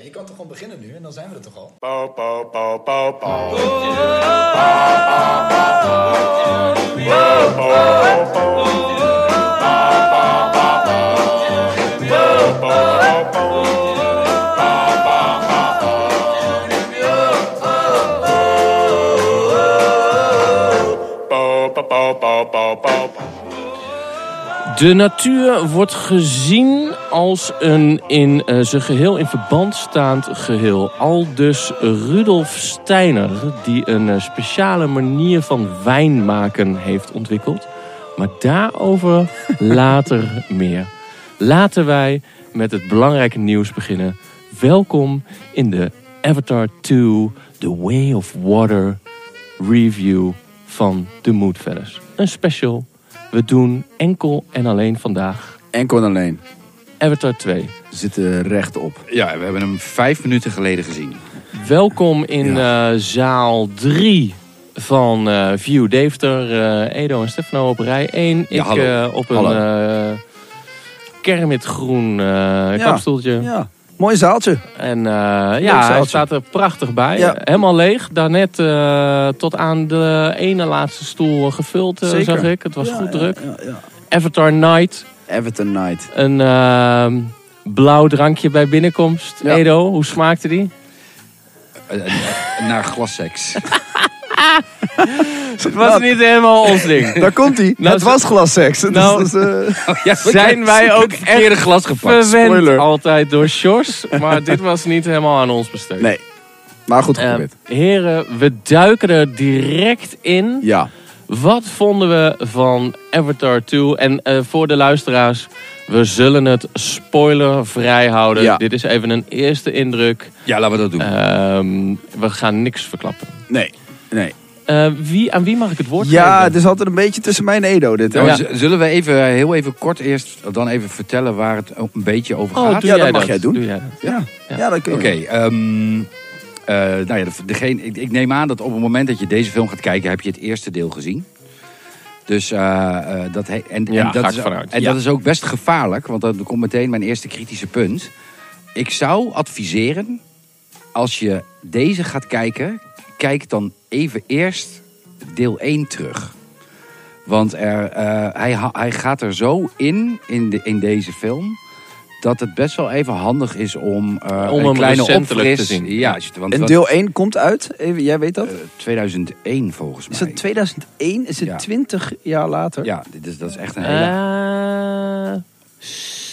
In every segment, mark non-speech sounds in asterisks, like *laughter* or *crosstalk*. je kan toch gewoon beginnen nu en dan zijn we er toch al? Bow, bow, bow, bow, bow. Bow, bow, bow, bow, bow, bow, bow. De natuur wordt gezien als een in eh, zijn geheel in verband staand geheel. Al dus Rudolf Steiner, die een eh, speciale manier van wijn maken heeft ontwikkeld. Maar daarover later meer. Laten wij met het belangrijke nieuws beginnen. Welkom in de Avatar 2 The Way of Water review van de Moodfellas. Een special. We doen enkel en alleen vandaag Enkel en alleen. Avatar 2. We zitten recht op. Ja, we hebben hem vijf minuten geleden gezien. Welkom in eh, zaal 3 van eh, View Deventer. eh, Edo en Stefano op rij 1. Ik Ja, hallo. eh, op een Hallo. eh kermitgroen eh kapstoeltje. Ja, mooi zaaltje. En eh, ja, hij zaaltje. staat er prachtig bij. Ja. Helemaal leeg. Daarnet eh, tot aan de ene laatste stoel eh, gevuld, eh, Zeker. zag ik. Het was Ja, goed ja, druk. Ja, ja. Avatar Night. Everton Night. Een ehm, blauw drankje bij binnenkomst. Ja. Edo, hoe smaakte *laughs* die? Eh, eh, Naar glasseks. Het was niet helemaal ons *laughs* ding. Daar komt hij. Nou, het ze- was glasseks. Dus, Nou, dus, *laughs* eh, Oh, Ja, Zijn wij ook echt verkeerde glas gepakt? verwend Spoiler. altijd door Sjors. *laughs* Maar dit was niet helemaal aan ons besteed. nee. Maar goed Ehm, geprobeerd. heren, we duiken er direct in. ja. Wat vonden we van Avatar 2? En eh, voor de luisteraars, we zullen het spoilervrij houden. Ja. Dit is even een eerste indruk. Ja, laten we dat doen. Ehm, we gaan niks verklappen. Nee. Nee. Eh, wie, aan wie mag ik het woord Ja, geven? het is altijd een beetje tussen mij en Edo dit. hè? Nou, ja. z- Zullen we even eh, heel even kort eerst dan even vertellen waar het ook een beetje over Oh, gaat? doe Ja, jij dat mag jij doen. Doe jij dat. Ja. Ja. Ja. dat kun je. Oké, ehm, eh, nou ja, de- degene, ik, ik neem aan dat op het moment dat je deze film gaat kijken, heb je het eerste deel gezien. Dus eh, eh, dat, he- en, Ja, en dat ga ik is, vanuit. en Ja. dat is ook best gevaarlijk, want dan komt meteen mijn eerste kritische punt. Ik zou adviseren, als je deze gaat kijken, kijk dan even eerst deel 1 terug. Want er, eh, hij, ha- hij gaat er zo in, in, de, in deze film, dat het best wel even handig is om, eh, Om hem een kleine recentelijk opfris... te zien. Ja, juist, want En dat- deel 1 komt uit. Even, jij weet dat? eh, 2001 volgens mij. Is dat 2001? Is het Ja. 20 jaar later? Ja, dit is, dat is echt een hele... Eh,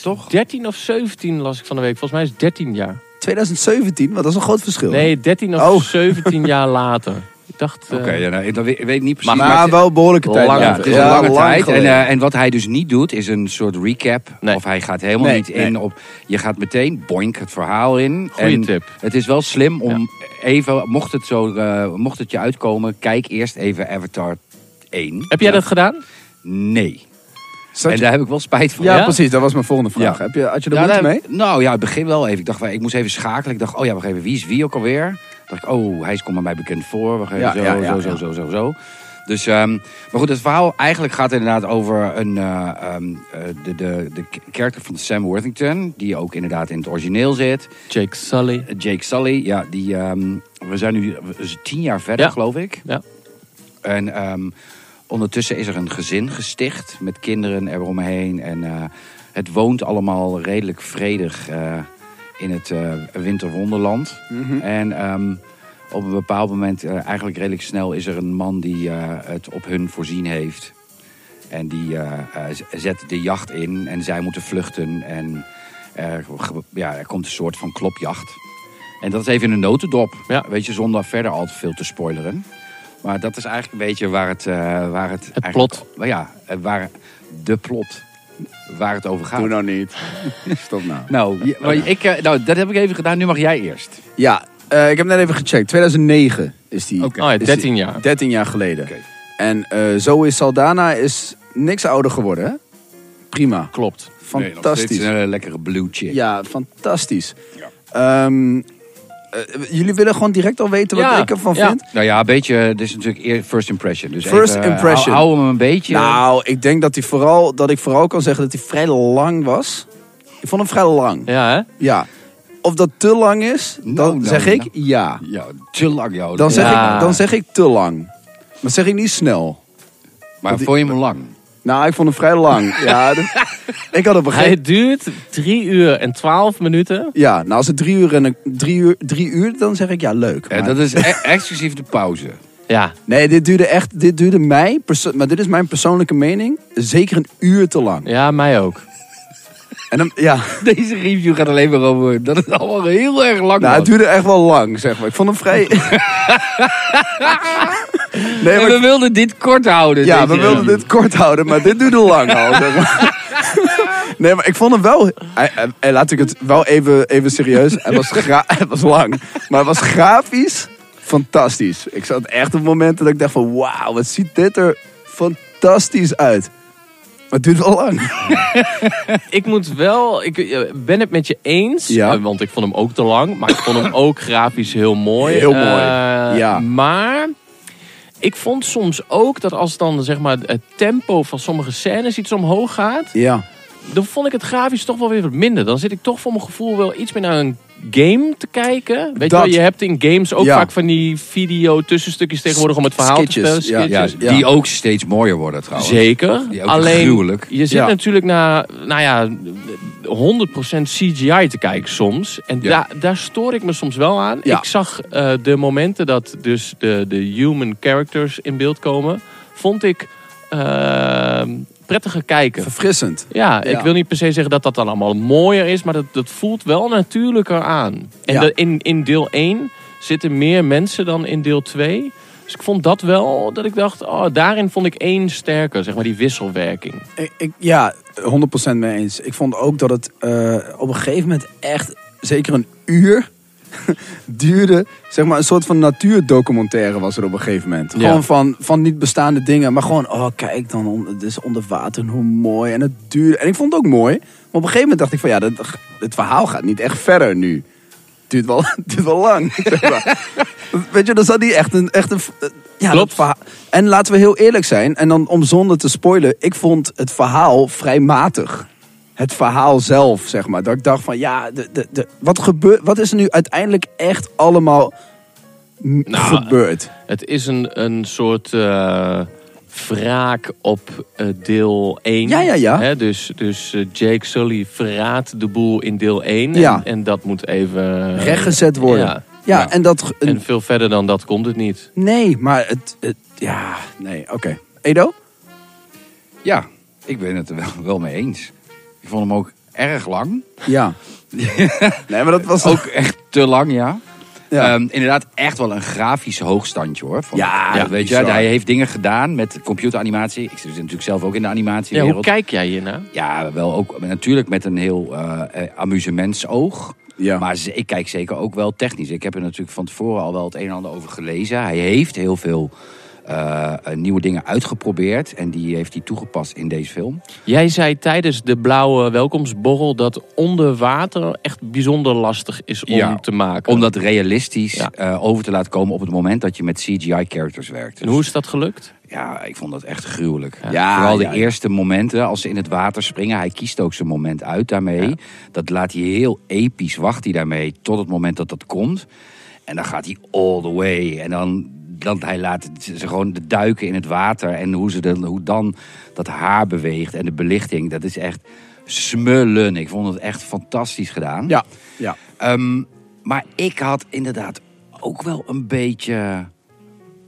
toch? 13 of 17 las ik van de week. Volgens mij is het 13 jaar. 2017, want dat is een groot verschil. Nee, 13 of *laughs* Oh. 17 jaar later. Ik dacht... eh, Oké, ja, nou, ik dat weet, ik weet niet precies. Maar, het- wel een behoorlijke tijd. Lang. ja, later. het is Ja, een lange lang tijd. En, geleden. eh, en wat hij dus niet doet, is een soort recap. Nee. Of hij gaat helemaal Nee, niet in nee. op... Je gaat meteen, boink, het verhaal in. Goeie En tip. Het is wel slim om even, mocht het, zo, eh, mocht het je uitkomen... Kijk eerst even Avatar 1. Heb jij dat gedaan? Nee. Zat en je- daar heb ik wel spijt van. ja, Ja? precies. Dat was mijn volgende vraag. Ja. Heb je, had je er Ja, moeite daar- mee? Nou ja, het begin wel even. Ik dacht, ik moest even schakelen. Ik dacht, oh ja, wacht even, wie is wie ook alweer? Dacht ik, oh, hij is- komt bij mij bekend voor. Wacht even, Ja, zo, ja, ja, zo, zo, ja. zo, zo, zo. Dus, ehm, maar goed, het verhaal eigenlijk gaat inderdaad over een, eh, ehm, eh, de, de, de karakter van Sam Worthington. Die ook inderdaad in het origineel zit. Jake Sully. Jake Sully, ja, die, ehm, we zijn nu we zijn tien jaar verder, Ja. geloof ik. Ja. En ehm, ondertussen is er een gezin gesticht met kinderen eromheen. En eh, het woont allemaal redelijk vredig eh, in het eh, winterwonderland. En ehm, op een bepaald moment, eh, eigenlijk redelijk snel, is er een man die eh, het op hun voorzien heeft. En die eh, eh, z- zet de jacht in en zij moeten vluchten. En er, ge- ja, er komt een soort van klopjacht. En dat is even in een notendop. Ja. Weet je, zonder verder al te veel te spoileren. Maar dat is eigenlijk een beetje waar het... eh, waar het Het eigenlijk- plot. Nou Ja, eh, waar de plot. Waar het over gaat. Doe nou *laughs* niet. Stop nou. Nou, je- maar ik, eh, nou, dat heb ik even gedaan. Nu mag jij eerst. Ja, eh, ik heb net even gecheckt. 2009 is die. Oké. Oh ja, is die- 13 jaar. 13 jaar geleden. Oké. En eh Zoe Saldana is niks ouder geworden, hè? Prima. Klopt. Fantastisch. Nee, nog steeds een eh, lekkere blue chick. ja, fantastisch. Ehm, eh, jullie willen gewoon direct al weten wat Ja, ik ervan ja. vind? Nou ja, een beetje... eh, Dit is natuurlijk eer- first impression. Dus First even, eh, impression. Hou, hou hem een beetje... Nou, ik denk dat, hij vooral, dat ik vooral kan zeggen dat hij vrij lang was. Ik vond hem vrij lang. Ja, hè? Ja. Of dat te lang is, dan Nou, nou, zeg ik nou. ja. Ja, te lang, joh. Dan zeg, Ja. ik, dan zeg ik te lang. Maar dat zeg ik niet snel. Maar vond je hem lang? Eh, Nou, ik vond hem vrij *laughs* lang. ja, dat- ik had op een gegeven Hij duurt 3 uur en 12 minuten. Ja, nou als het drie uur, en een, drie uur, drie uur, dan zeg ik ja, leuk. Eh, maar- dat is e- exclusief de pauze. Ja, Nee, dit duurde echt, dit duurde mij, perso- maar dit is mijn persoonlijke mening, zeker een uur te lang. ja, mij ook. En dan, ja, *laughs* Nou, Deze review gaat alleen maar over dat het allemaal heel erg lang nou, het was. duurde echt wel lang, zeg maar. Ik vond hem vrij... nee, En we maar, wilden dit kort houden. ja, deze we wilden review. dit kort houden, maar dit duurde lang al, zeg maar. Nee, maar ik vond hem wel... Hij- hij- hij- Laat ik het wel even, even serieus. Hij was, gra- *laughs* hij was lang, maar hij was grafisch fantastisch. Ik zat echt op momenten dat ik dacht van... Wauw, wat ziet dit er fantastisch uit. Maar het duurt wel lang. Ik moet wel, ik eh, ben het met je eens, Ja. eh, want ik vond hem ook te lang, maar ik vond hem ook grafisch heel mooi. Heel mooi, Eh, ja. Maar ik vond soms ook dat als dan zeg maar het tempo van sommige scènes iets omhoog gaat, Ja. dan vond ik het grafisch toch wel weer wat minder. Dan zit ik toch voor mijn gevoel wel iets meer naar een game te kijken. Weet Dat- je wel, je hebt in games ook Ja. vaak van die video tussenstukjes tegenwoordig om het verhaal Skitjes, te vertellen. Ja, Skitjes. die ook steeds mooier worden trouwens. Zeker. Die ook Alleen, gruwelijk. je zit Ja. natuurlijk naar nou ja, 100% CGI te kijken soms. En Ja. daar- daar stoor ik me soms wel aan. Ja. Ik zag eh, de momenten dat dus de, de human characters in beeld komen. Vond ik eh, prettiger kijken. Verfrissend. Ja, Ja. ik wil niet per se zeggen dat dat dan allemaal mooier is, maar dat, dat voelt wel natuurlijker aan. En Ja. dat in, in deel 1 zitten meer mensen dan in deel 2. Dus ik vond dat wel, dat ik dacht, oh, daarin vond ik één sterker, zeg maar, die wisselwerking. Ik, ik- ja, 100% mee eens. Ik vond ook dat het eh, op een gegeven moment echt zeker een uur *laughs* duurde. Zeg maar een soort van natuurdocumentaire was er op een gegeven moment. Ja. Gewoon van, van niet bestaande dingen. Maar gewoon, oh kijk dan, on- het is onder water en hoe mooi. En het duurde. En ik vond het ook mooi. Maar op een gegeven moment dacht ik van ja, dat, het verhaal gaat niet echt verder nu. Het duurt wel, *laughs* het duurt wel lang. zeg maar. Weet je, dan zat niet echt een... Echt een ja, Klopt. dat verha- En laten we heel eerlijk zijn, en dan om zonder te spoilen, ik vond het verhaal vrij matig. Het verhaal zelf, zeg maar. Dat ik dacht van, ja, de, de, de, wat, gebeurt, wat is er nu uiteindelijk echt allemaal m- Nou, gebeurd? Het is een, een soort eh, wraak op eh, deel 1. Ja, ja, ja. Hè, dus dus eh, Jake Sully verraadt de boel in deel 1. Ja. En, en dat moet even... Rechtgezet worden. Ja, eh, Ja. Ja. en dat... ge- En veel verder dan dat komt het niet. nee, maar het... het- ja, nee, oké. Edo? Oh, Ja, ik ben het er wel, wel mee eens. Ik vond hem ook erg *laughs* lang. Ja. nee, maar dat was... Ook echt te lang, ja. Ja. Ehm, inderdaad, echt wel een grafisch hoogstandje hoor. Van, Ja, weet je, bizar. hij heeft dingen gedaan met computeranimatie. Ik zit dus natuurlijk zelf ook in de Ja, hoe animatiewereld. kijk jij hiernaar? Ja, wel ook natuurlijk met een heel eh, eh, amusementsoog. Ja. Maar ze- ik kijk zeker ook wel technisch. Ik heb er natuurlijk van tevoren al wel het een en ander over gelezen. Hij heeft heel veel eh, eh, nieuwe dingen uitgeprobeerd. En die heeft hij toegepast in deze film. Jij zei tijdens de blauwe welkomstborrel dat onder water echt bijzonder lastig is om Ja, te maken. Om dat realistisch Ja. eh, over te laten komen op het moment dat je met CGI-characters werkt. En Dus- hoe is dat gelukt? Ja, ik vond dat echt gruwelijk. Ja, Vooral ja. de eerste momenten, als ze in het water springen. Hij kiest ook zijn moment uit daarmee. Dat laat hij heel episch, wacht hij daarmee tot het moment dat dat komt. En dan gaat hij all the way. En dan, dan hij laat het- ze gewoon de duiken in het water. En hoe, ze dan, hoe dan dat haar beweegt en de belichting. Dat is echt smullen. Ik vond het echt fantastisch gedaan. *laughs* Ja, ja. Ehm, maar ik had inderdaad ook wel een beetje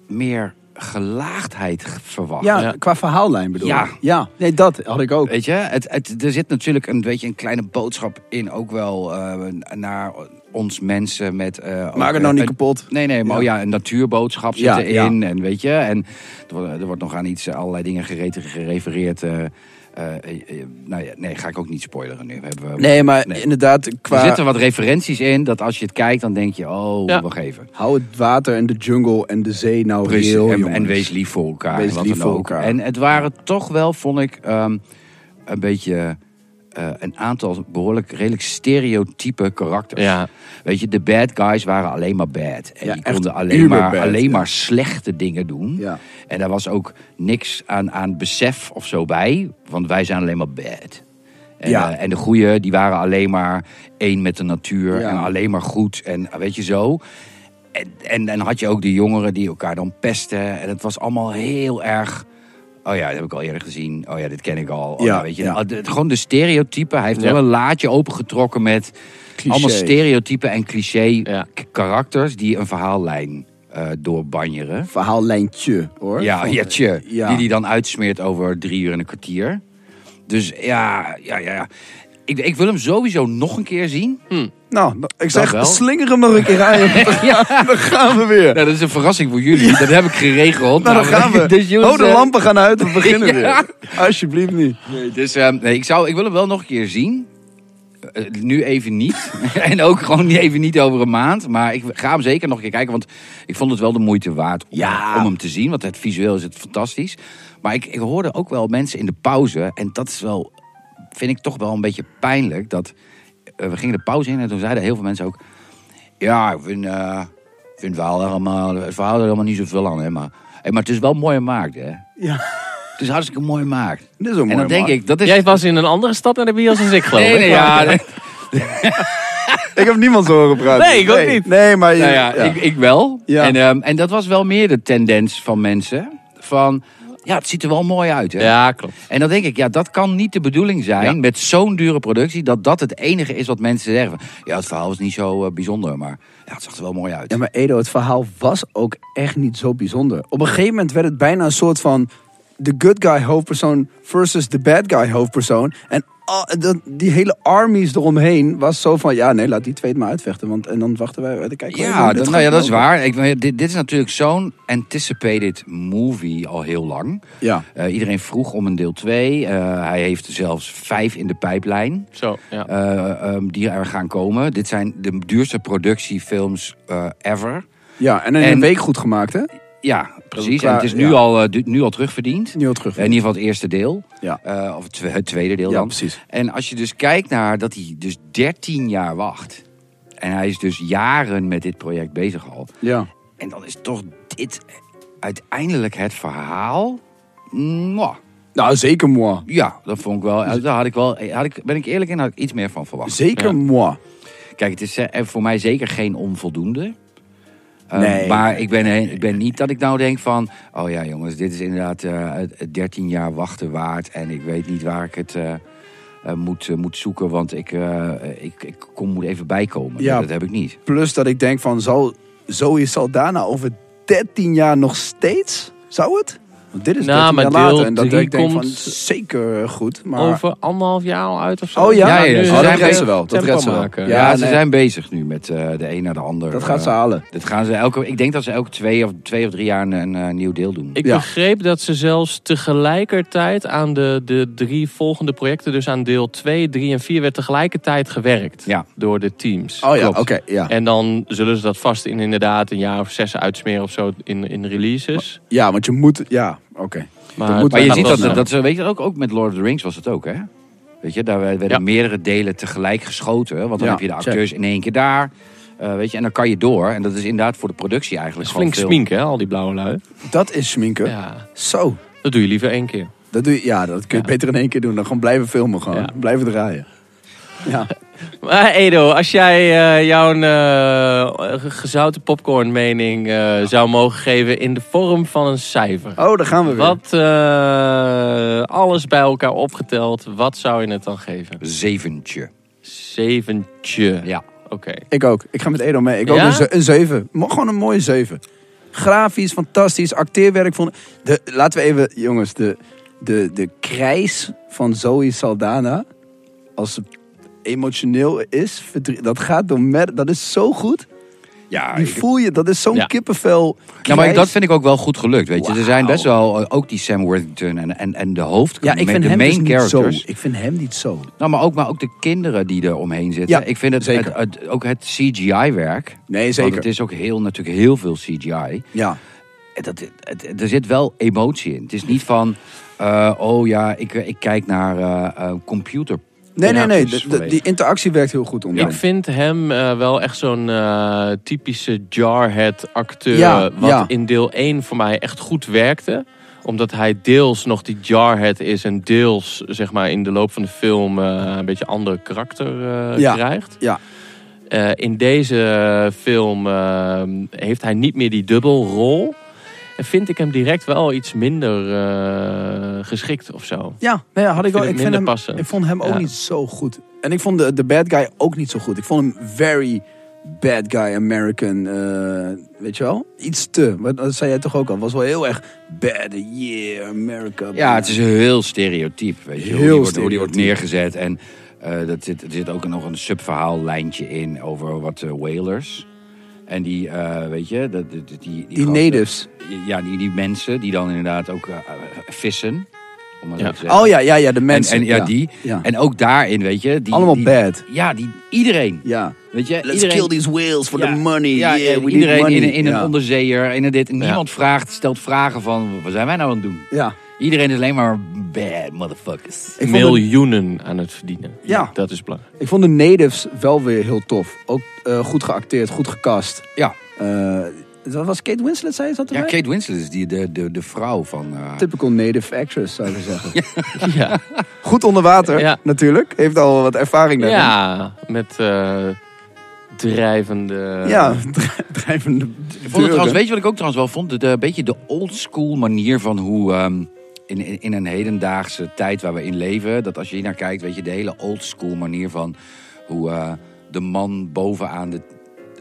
meer gelaagdheid g- verwacht. Ja, Ja. qua verhaallijn bedoel Ja. Eh, ik. Ja, nee, dat had ik ook. Weet je, het, het, er zit natuurlijk een beetje een kleine boodschap in, ook wel eh, naar ons mensen met... eh, ook, Maak het eh, nou niet een- kapot. Nee, nee, maar Ja. oh ja, een natuurboodschap zit Ja, erin. En weet je, en er, wordt- er wordt nog aan iets, eh, allerlei dingen gerete- gerefereerd. eh, eh, eh, eh, nou ja, nee, ga ik ook niet spoileren nu. Hebben we, Nee, maar Nee. inderdaad, qua... Er zitten wat referenties in, dat als je het kijkt, dan denk je, oh, Ja. wacht even. Hou het water en de jungle en de zee nou Precies, heel, en, jongens. en wees lief voor elkaar. Wees en wat lief dan voor ook. elkaar. En het waren toch wel, vond ik, ehm, een beetje eh, een aantal behoorlijk redelijk stereotype karakters. Ja. Weet je, de bad guys waren alleen maar bad. En Ja, die echt konden alleen, uber maar, bad, alleen ja. maar slechte dingen doen. Ja. En daar was ook niks aan, aan besef of zo bij, want wij zijn alleen maar bad. En, Ja. eh, en de goeie, die waren alleen maar één met de natuur Ja. en alleen maar goed en eh, weet je zo. En, en, en had je ook de jongeren die elkaar dan pesten. En het was allemaal heel erg... Oh ja, dat heb ik al eerder gezien. Oh ja, dit ken ik al. Oh, Ja, ja, weet je, ja. Ah, de- gewoon de stereotypen. Hij heeft Ja. wel een laadje opengetrokken met Cliché. allemaal stereotypen en cliché Ja. k- karakters die een verhaallijn eh doorbanjeren. Verhaallijntje, hoor. Ja, Van- eh, ja, tje. ja. Die die dan uitsmeert over drie uur en een kwartier. Dus ja, ja, ja. ja. Ik, ik wil hem sowieso nog een keer zien. Nou, nou, ik zeg, wel. slinger hem nog een keer *laughs* aan. ja. Dan gaan we Nou, weer. dat is een verrassing voor jullie. Dat heb ik geregeld. Nou, dan Namelijk- gaan we. *laughs* Dus jongens, oh, de eh, lampen gaan uit. *laughs* We beginnen Ja. weer. Alsjeblieft niet. Nee, dus ehm, nee, ik, zou, ik wil hem wel nog een keer zien. Eh, nu even niet. *laughs* en ook gewoon niet- even niet over een maand. Maar ik ga hem zeker nog een keer kijken. Want ik vond het wel de moeite waard om, Ja. om hem te zien. Want het visueel is het fantastisch. Maar ik, ik hoorde ook wel mensen in de pauze. En dat is wel, vind ik toch wel een beetje pijnlijk. Dat eh, we gingen de pauze in en toen zeiden heel veel mensen ook... Ja, ik vind, eh, ik vind het, verhaal er allemaal, het verhaal er helemaal niet zoveel aan. Hè, maar, hé, maar het is wel mooi gemaakt, hè. Ja. Het is hartstikke mooi gemaakt. Dit is ook En mooi dan denk gemaakt. ik, dat is... Jij was in een andere stad naar de bios als ik, geloof Dus- Nee, ik. nee, *laughs* ja, nee, Ik heb niemand zo horen praten. Nee, ik ook niet. Nee, maar... je- nou ja, ja. Ik, ik wel. Ja. En, ehm, en dat was wel meer de tendens van mensen. Van, ja, het ziet er wel mooi uit. Hè? Ja, klopt. En dan denk ik, ja, dat kan niet de bedoeling zijn Ja. met zo'n dure productie. Dat dat het enige is wat mensen zeggen. Van, ja, het verhaal is niet zo eh, bijzonder, maar ja, het zag er wel mooi uit. Ja, maar Edo, het verhaal was ook echt niet zo bijzonder. Op een gegeven moment werd het bijna een soort van... de good guy hoofdpersoon versus de bad guy hoofdpersoon. En al- dat- die hele armies eromheen was zo van... ja, nee, laat die twee het maar uitvechten. Want, en dan wachten wij uit. Kijk, Ja, dat, nou ja, dat is waar. Ik, weet- dit, dit is natuurlijk zo'n anticipated movie al heel lang. Ja. Eh, iedereen vroeg om een deel 2. hij heeft er zelfs vijf in de pijplijn. Zo, ja. eh, ehm, die er gaan komen. Dit zijn de duurste productiefilms eh, ever. Ja, en in En- een week goed gemaakt, hè? Ja, precies. Qua- En het is nu, ja. al, eh, du- nu al terugverdiend. Eh, Nu al terugverdiend. In ieder geval het eerste deel. Ja. Eh, of het twe- het tweede deel Ja, dan. precies. En als je dus kijkt naar dat hij dus 13 jaar wacht. En hij is dus jaren met dit project bezig al. Ja. En dan is toch dit uiteindelijk het verhaal. Mwah. Nou, zeker moi. Ja, dat vond ik wel. Dus Daar had ik wel, eh, had ik, ben ik eerlijk in, had ik iets meer van verwacht. Zeker moi. Kijk, het is eh, voor mij zeker geen onvoldoende. Uh, Nee. Maar ik ben, he- ik ben niet dat ik nou denk van... oh ja jongens, dit is inderdaad eh, het- het 13 jaar wachten waard... en ik weet niet waar ik het eh, eh, moet, eh, moet zoeken... want ik, eh, ik, ik kom, moet even bijkomen. Ja. Dat heb ik niet. Plus dat ik denk van, zal Zoe Saldana over 13 jaar nog steeds? Zou het? Want dit is Nou, 13 maar jaar later. deel En dat drie ik denk van, komt zeker goed. Maar Over anderhalf jaar al uit of zo. dus Oh ja? Ja, ja, ja. nu Oh, zijn dat we redt ze wel, dat tempo redt ze wel. maken. Ja, Ja, ze nee. zijn bezig nu met eh, de een naar de ander. dat gaat ze Eh, halen. dat gaan ze elke, ik denk dat ze elke twee of, twee of drie jaar een, een, eh, nieuw deel doen. Ik Ja. begreep dat ze zelfs tegelijkertijd aan de, de drie volgende projecten, dus aan deel 2, 3 en 4, werd tegelijkertijd gewerkt Ja. door de teams. Oh ja, Klopt. oké. ja. En dan zullen ze dat vast in inderdaad een jaar of zes uitsmeren of zo in, in releases. ja, want je moet... Ja, oké. Maar, moet- Maar je Gaat ziet wel dat, snel. dat, ze, weet je, ook, ook met Lord of the Rings was het ook, hè? Weet je, daar werden Ja. meerdere delen tegelijk geschoten. Want dan Ja, heb je de check. acteurs in één keer daar. eh, weet je, en dan kan je door. En dat is inderdaad voor de productie eigenlijk is flink gewoon veel- sminken, hè, al die blauwe lui. Dat is schminken. Ja, Zo. dat doe je liever één keer. Dat doe je, ja, dat kun je Ja. beter in één keer doen. Dan gewoon blijven filmen gewoon. Ja. Blijven draaien. Ja. Maar Edo, als jij eh, jouw eh, gezouten popcorn mening eh, zou mogen geven in de vorm van een cijfer. Oh, daar gaan we weer. Wat eh, alles bij elkaar opgeteld, wat zou je het dan geven? Zeventje. Zeventje. Ja. Oké. Ik ook. Ik ga met Edo mee. Ik Ja? ook een, ze- een 7. Maar gewoon een mooie 7. Grafisch, fantastisch. Acteerwerk vond de, Laten we even, jongens, de, de, de krijs van Zoe Saldana. Als ze emotioneel is, verdrie- dat gaat door mer- Dat is zo goed. Ja, Die Ah, ik- voel je, dat is zo'n Ja. kippenvel. nou, maar ik- krijs. dat vind ik ook wel goed gelukt. Weet je, er zijn Wauw. best wel eh, ook die Sam Worthington en, en, en de hoofd. ja, ik met vind de hem main dus niet characters. zo. Ik vind hem niet zo. Nou, maar ook, maar ook de kinderen die er omheen zitten. Ja, ik vind het, zeker. het- het- ook het CGI-werk. Nee, Want zeker. het is ook heel, natuurlijk heel veel CGI. Ja. Het- het- Eh, het- het- er zit wel emotie in. Het is niet van, eh, oh ja, ik, ik kijk naar eh, eh, computer. Nee, nee, nee. interacties de- de- vanwege. die interactie werkt heel goed onder. Ik vind hem eh, wel echt zo'n eh, typische jarhead acteur. Ja, wat ja. in deel 1 voor mij echt goed werkte. Omdat hij deels nog die Jarhead is en deels zeg maar, in de loop van de film eh, een beetje een ander karakter eh, Ja. krijgt. Ja. Eh, in deze film eh, heeft hij niet meer die dubbelrol. En vind ik hem direct wel iets minder eh, geschikt of zo. Ja, nee, had ik, vind wel. het Ik, vind minder hem, passend. ik vond hem ook Ja. niet zo goed. En ik vond de, de bad guy ook niet zo goed. Ik vond hem very bad guy American. eh, weet je wel? Iets te. Maar dat zei jij toch ook al. Was wel heel erg bad. Yeah, America. Ja, het is heel stereotyp, weet je. hoe, die Heel wordt, hoe die wordt stereotyp. neergezet. En eh dat zit, er zit ook nog een subverhaallijntje in over wat eh, whalers. En die, eh, weet je... Dat, dat- die, die, Die gasten- natives. Ja, die, die mensen die dan inderdaad ook eh, vissen. Om maar zo Ja. te zeggen. Oh ja, ja, ja, de En, mensen. en ja, die. Ja. En ook daarin, weet je. Die, Allemaal die- bad. Ja, die, iedereen. Ja. Weet je, Let's iedereen, kill these whales for Ja. the money. Ja, yeah, we need iedereen money. in, in Ja. een onderzeeër, in een dit. En Ja. niemand vraagt, stelt vragen van, wat zijn wij nou aan het doen? Ja. Iedereen is alleen maar bad motherfuckers. Ik vond, de, Miljoenen aan het verdienen. Ja. Dat is belangrijk. ik vond de natives wel weer heel tof. Ook eh, goed geacteerd, goed gecast. Ja, Eh, dat was Kate Winslet, zei je dat ja erbij? Kate Winslet is die, de, de, de vrouw van... eh, Typical native actress, zou ik zeggen. *laughs* *laughs* Ja. Goed onder water, Ja. natuurlijk. Heeft al wat ervaring daarin. Ja, met eh, drijvende... Ja, *laughs* dri- drijvende ik vond het trouwens, weet je wat ik ook trouwens wel vond? De, de- een beetje de old school manier van hoe... ehm, in, in, in een hedendaagse tijd waar we in leven... dat als je hier naar kijkt, weet je, de hele old school manier van... hoe eh, de man bovenaan de,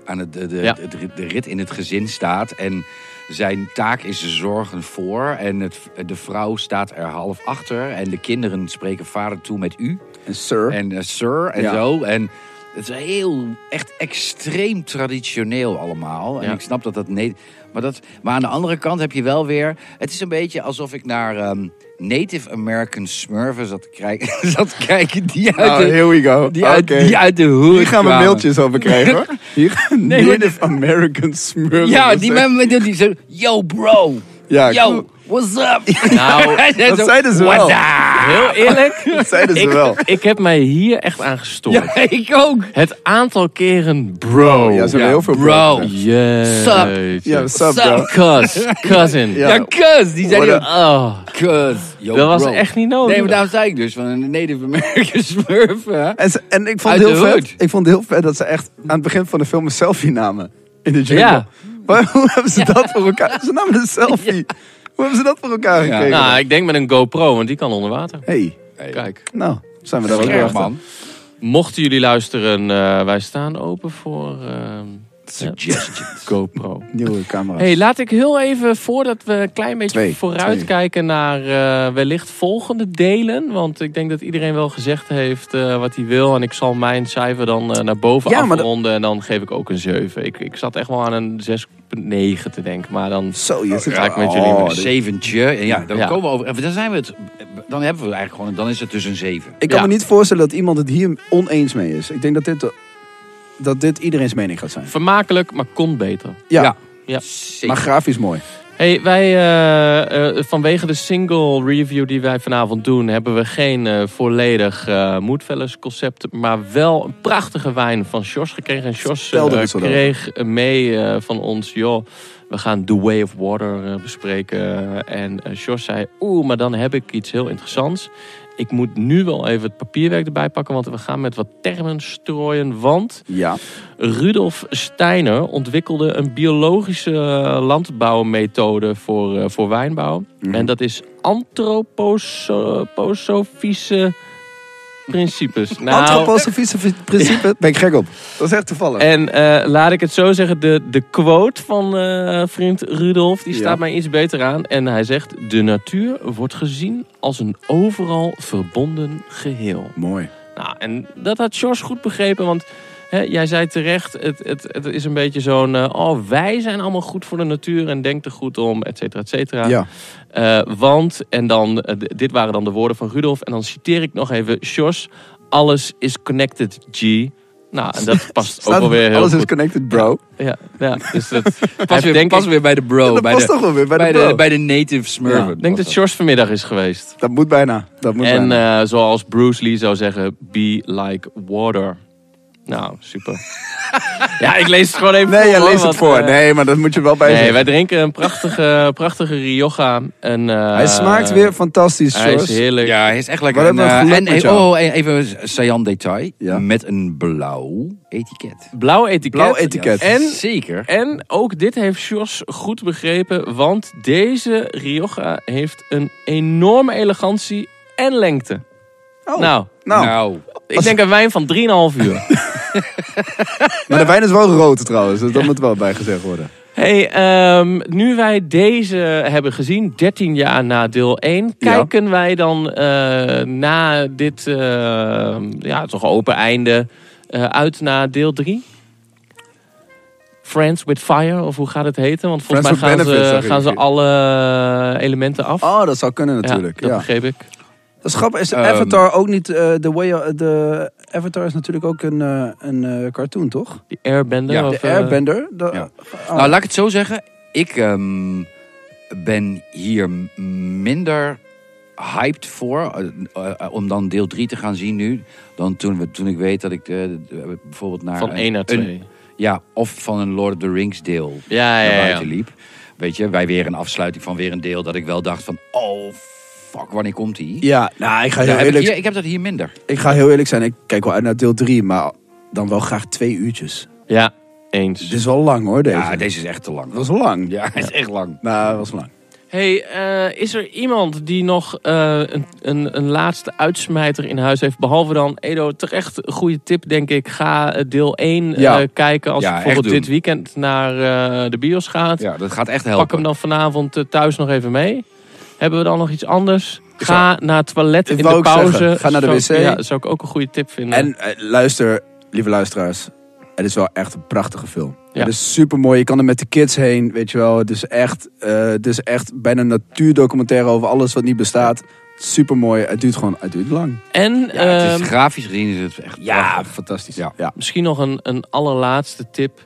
aan het, de, de, Ja. het rit- de rit in het gezin staat... en zijn taak is zorgen voor... en het, de vrouw staat er half achter... en de kinderen spreken vader toe met u... En Sir. en eh, Sir en Ja. zo. En het is heel, echt extreem traditioneel allemaal. En Ja. ik snap dat dat... Nee, maar, dat, maar aan de andere kant heb je wel weer... Het is een beetje alsof ik naar ehm, Native American Smurfen zat, te kijken- *laughs* zat te kijken. Die uit Oh, de, here we go. die uit, Oké. die uit de hoed Hier gaan we kwamen. mailtjes over *laughs* krijgen. hoor. Hier, Nee, maar- Native American Smurf. Ja, die mensen met die, die zo... Yo, bro. dus, eh. Ja, Yo, klopt. what's *laughs* up? *laughs* Nou, dat zeiden ze wel. heel eerlijk. *laughs* Dat zeiden ze ik, wel. ik heb mij hier echt aan gestoord. *laughs* Ja, ik ook. Het aantal keren bro. Oh, Ja, ze hebben Ja, heel veel bro. problemen. Jeetje. Ja, sup, Sup. bro. Cous, cousin. Ja. Ja, kus. Die What zeiden... up? Oh, Kus. Yo, dat was bro. echt niet nodig. Nee, maar daarom zei ik dus van een Native American *laughs* Smurf. hè. En, ze- en ik, vond Uit het de heel vet, hood. ik vond het heel vet dat ze echt aan het begin van de film een selfie namen. In de jungle. Ja. Maar *laughs* hoe hebben ze dat voor elkaar? Ze namen een selfie. Hoe hebben ze dat voor elkaar Ja. gekregen? nou, ik denk met een GoPro, want die kan onder water. hey, Kijk. nou, zijn we daar ook weer Scherp, achter. man. Mochten jullie luisteren, eh, wij staan open voor ehm, Suggestions. GoPro. Nieuwe camera. Hey, laat ik heel even, voordat we een klein beetje Twee, vooruitkijken naar eh, wellicht volgende delen. Want ik denk dat iedereen wel gezegd heeft eh, wat hij wil. En ik zal mijn cijfer dan eh, naar boven Ja, maar dat- afronden. En dan geef ik ook een 7. Ik, ik zat echt wel aan een 6,9 te denken. Maar dan Zo, je zit ga ik met Oh, jullie mee. Zeventje. En ja, dan Ja. komen we over. en Dan zijn we het. Dan hebben we het eigenlijk gewoon. Dan is het dus een zeven. Ik kan Ja. me niet voorstellen dat iemand het hier oneens mee is. Ik denk dat dit, dat dit iedereen's mening gaat zijn. vermakelijk, maar kon beter. Ja, Ja. Ja. Zeven. maar grafisch mooi. Hey, wij eh, eh, vanwege de single review die wij vanavond doen, hebben we geen eh, volledig eh Moodfellas concept, maar wel een prachtige wijn van Sjors gekregen. En Sjors Vertel er eh, eens wat kreeg mee eh, van ons, joh, we gaan The Way of Water eh, bespreken. En eh, Sjors zei, oeh, maar dan heb ik iets heel interessants. Ik moet nu wel even het papierwerk erbij pakken, want we gaan met wat termen strooien, want... Ja. Rudolf Steiner ontwikkelde een biologische eh, landbouwmethode voor, eh, voor wijnbouw. Mhm. En dat is antroposofische *laughs* principes. Nou, Antroposofische fi- principe, ben ik gek op. Dat is echt toevallig. en eh, laat ik het zo zeggen, de, de quote van eh, vriend Rudolf, die Ja. staat mij iets beter aan. En hij zegt, de natuur wordt gezien als een overal verbonden geheel. Mooi. Nou, en dat had George goed begrepen, want hè, jij zei terecht, het, het, het is een beetje zo'n, eh, oh wij zijn allemaal goed voor de natuur en denk er goed om, et cetera, et cetera. Ja. Eh, want, en dan, eh, d- dit waren dan de woorden van Rudolf, en dan citeer ik nog even George, alles is connected, G. Nou, en dat past ook Staat- wel weer heel alles is goed. connected, bro. Ja, ja, dus dat Pas, heeft weer, denk pas ik- weer bij de bro. dat bij, past de, toch wel weer bij, bij, de, de, bro. bij de native Smurfen. Ja, ik denk dat George vanmiddag is geweest. Dat moet bijna. Dat moet En bijna. eh, zoals Bruce Lee zou zeggen, be like water. Nou, *laughs* super. ja, ik lees het gewoon even Nee, voor. jij hoor, leest het want, voor. eh, Nee, maar dat moet je wel bij nee, zeggen. wij drinken een prachtige, *laughs* prachtige Rioja. En, eh, Hij smaakt weer fantastisch, Hij is Sjors. heerlijk. Ja, hij is echt lekker. Wat hebben we eh, geluk en, met eh, jou. oh, en even een saillant detail. Ja. Met een blauw etiket. Blauw etiket. Blauw etiket. En, Zeker. en ook dit heeft Sjors goed begrepen. Want deze Rioja heeft een enorme elegantie en lengte. Oh, nou, nou, ik denk een wijn van 3,5 uur. maar nou. de wijn is wel rood trouwens. Dus dat moet wel bij gezegd worden. Hey, ehm, nu wij deze hebben gezien, 13 jaar na deel 1, Ja. kijken wij dan eh, na dit eh, ja, toch open einde eh, uit naar deel 3? Friends with Fire, of hoe gaat het heten? Want volgens Friends mij gaan, with Benefits, zag ze, ik. gaan ze alle eh, elementen af. Oh, dat zou kunnen Ja, natuurlijk. dat Ja, begreep ik. Dat is grappig. Is Ehm, Avatar ook niet... eh, de way, de Avatar is natuurlijk ook een, eh, een eh, cartoon, toch? Die Airbender. Ja, of, De eh, Airbender. De, ja. oh. Nou, laat ik het zo zeggen. Ik ehm, ben hier m- minder hyped voor. eh, eh, eh, om dan deel 3 te gaan zien nu. Dan toen, we, toen ik weet dat ik eh, de- bijvoorbeeld naar... van een- 1 naar een- 2. ja, of van een Lord of the Rings deel Ja, ja, naar ja, buiten ja. liep. Weet je, wij weer een afsluiting van weer een deel. Dat ik wel dacht van, oh fuck, wanneer komt die? Ja, nou, ik ga Ja, heel heb ik, eerlijk hier- ik heb dat hier minder. Ik ga heel eerlijk zijn, ik kijk wel uit naar deel 3, maar dan wel graag twee uurtjes. Ja, eens. Dit is wel lang hoor, deze. Ja, Ah, deze is echt te lang. Dat was lang. Ja, hij is echt lang. Nou, dat was lang. Hey, eh, is er iemand die nog eh, een, een, een laatste uitsmijter in huis heeft? Behalve dan, Edo, terecht een goede tip, denk ik. Ga eh, deel 1 eh, Ja. kijken als Ja, je bijvoorbeeld echt doen. dit weekend naar eh, de bios gaat. Ja, dat gaat echt helpen. Pak hem dan vanavond eh, thuis nog even mee. Hebben we dan nog iets anders? Ga naar het toilet Ik in wou de ook pauze. zeggen, ga naar de Zou- wc. Ja, zou ik ook een goede tip vinden. En eh, luister, lieve luisteraars, het is wel echt een prachtige film. Ja. Het is super mooi, je kan er met de kids heen, weet je wel. Het is echt, eh, het is echt bijna een natuurdocumentaire over alles wat niet bestaat. Super mooi, het duurt gewoon, het duurt lang. En, Ja, het ehm, is grafisch gezien is het echt prachtig. fantastisch. Ja. ja. Misschien nog een, een allerlaatste tip.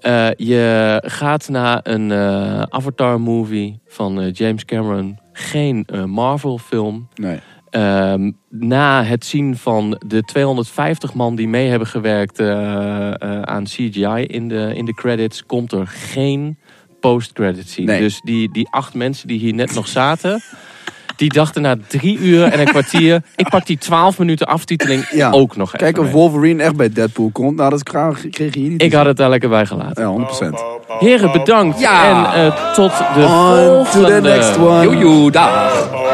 Eh, je gaat naar een eh, Avatar-movie van eh, James Cameron. Geen eh, Marvel-film. Nee. Ehm, na het zien van de 250 man die mee hebben gewerkt eh, eh, aan CGI in de, in de credits, komt er geen post-credit scene. Nee. Dus die, die acht mensen die hier net nog zaten, die dachten na drie uur en een kwartier, ik pak die 12 minuten aftiteling Ja. ook nog even Kijk of mee. Wolverine echt bij Deadpool komt. Nou, dat kreeg je hier niet. te Ik had het daar lekker bij gelaten. zien. Ja, 100%. Heren, bedankt. Ja. En eh, tot de On to volgende. the next one. Joejoe, dag. Bye.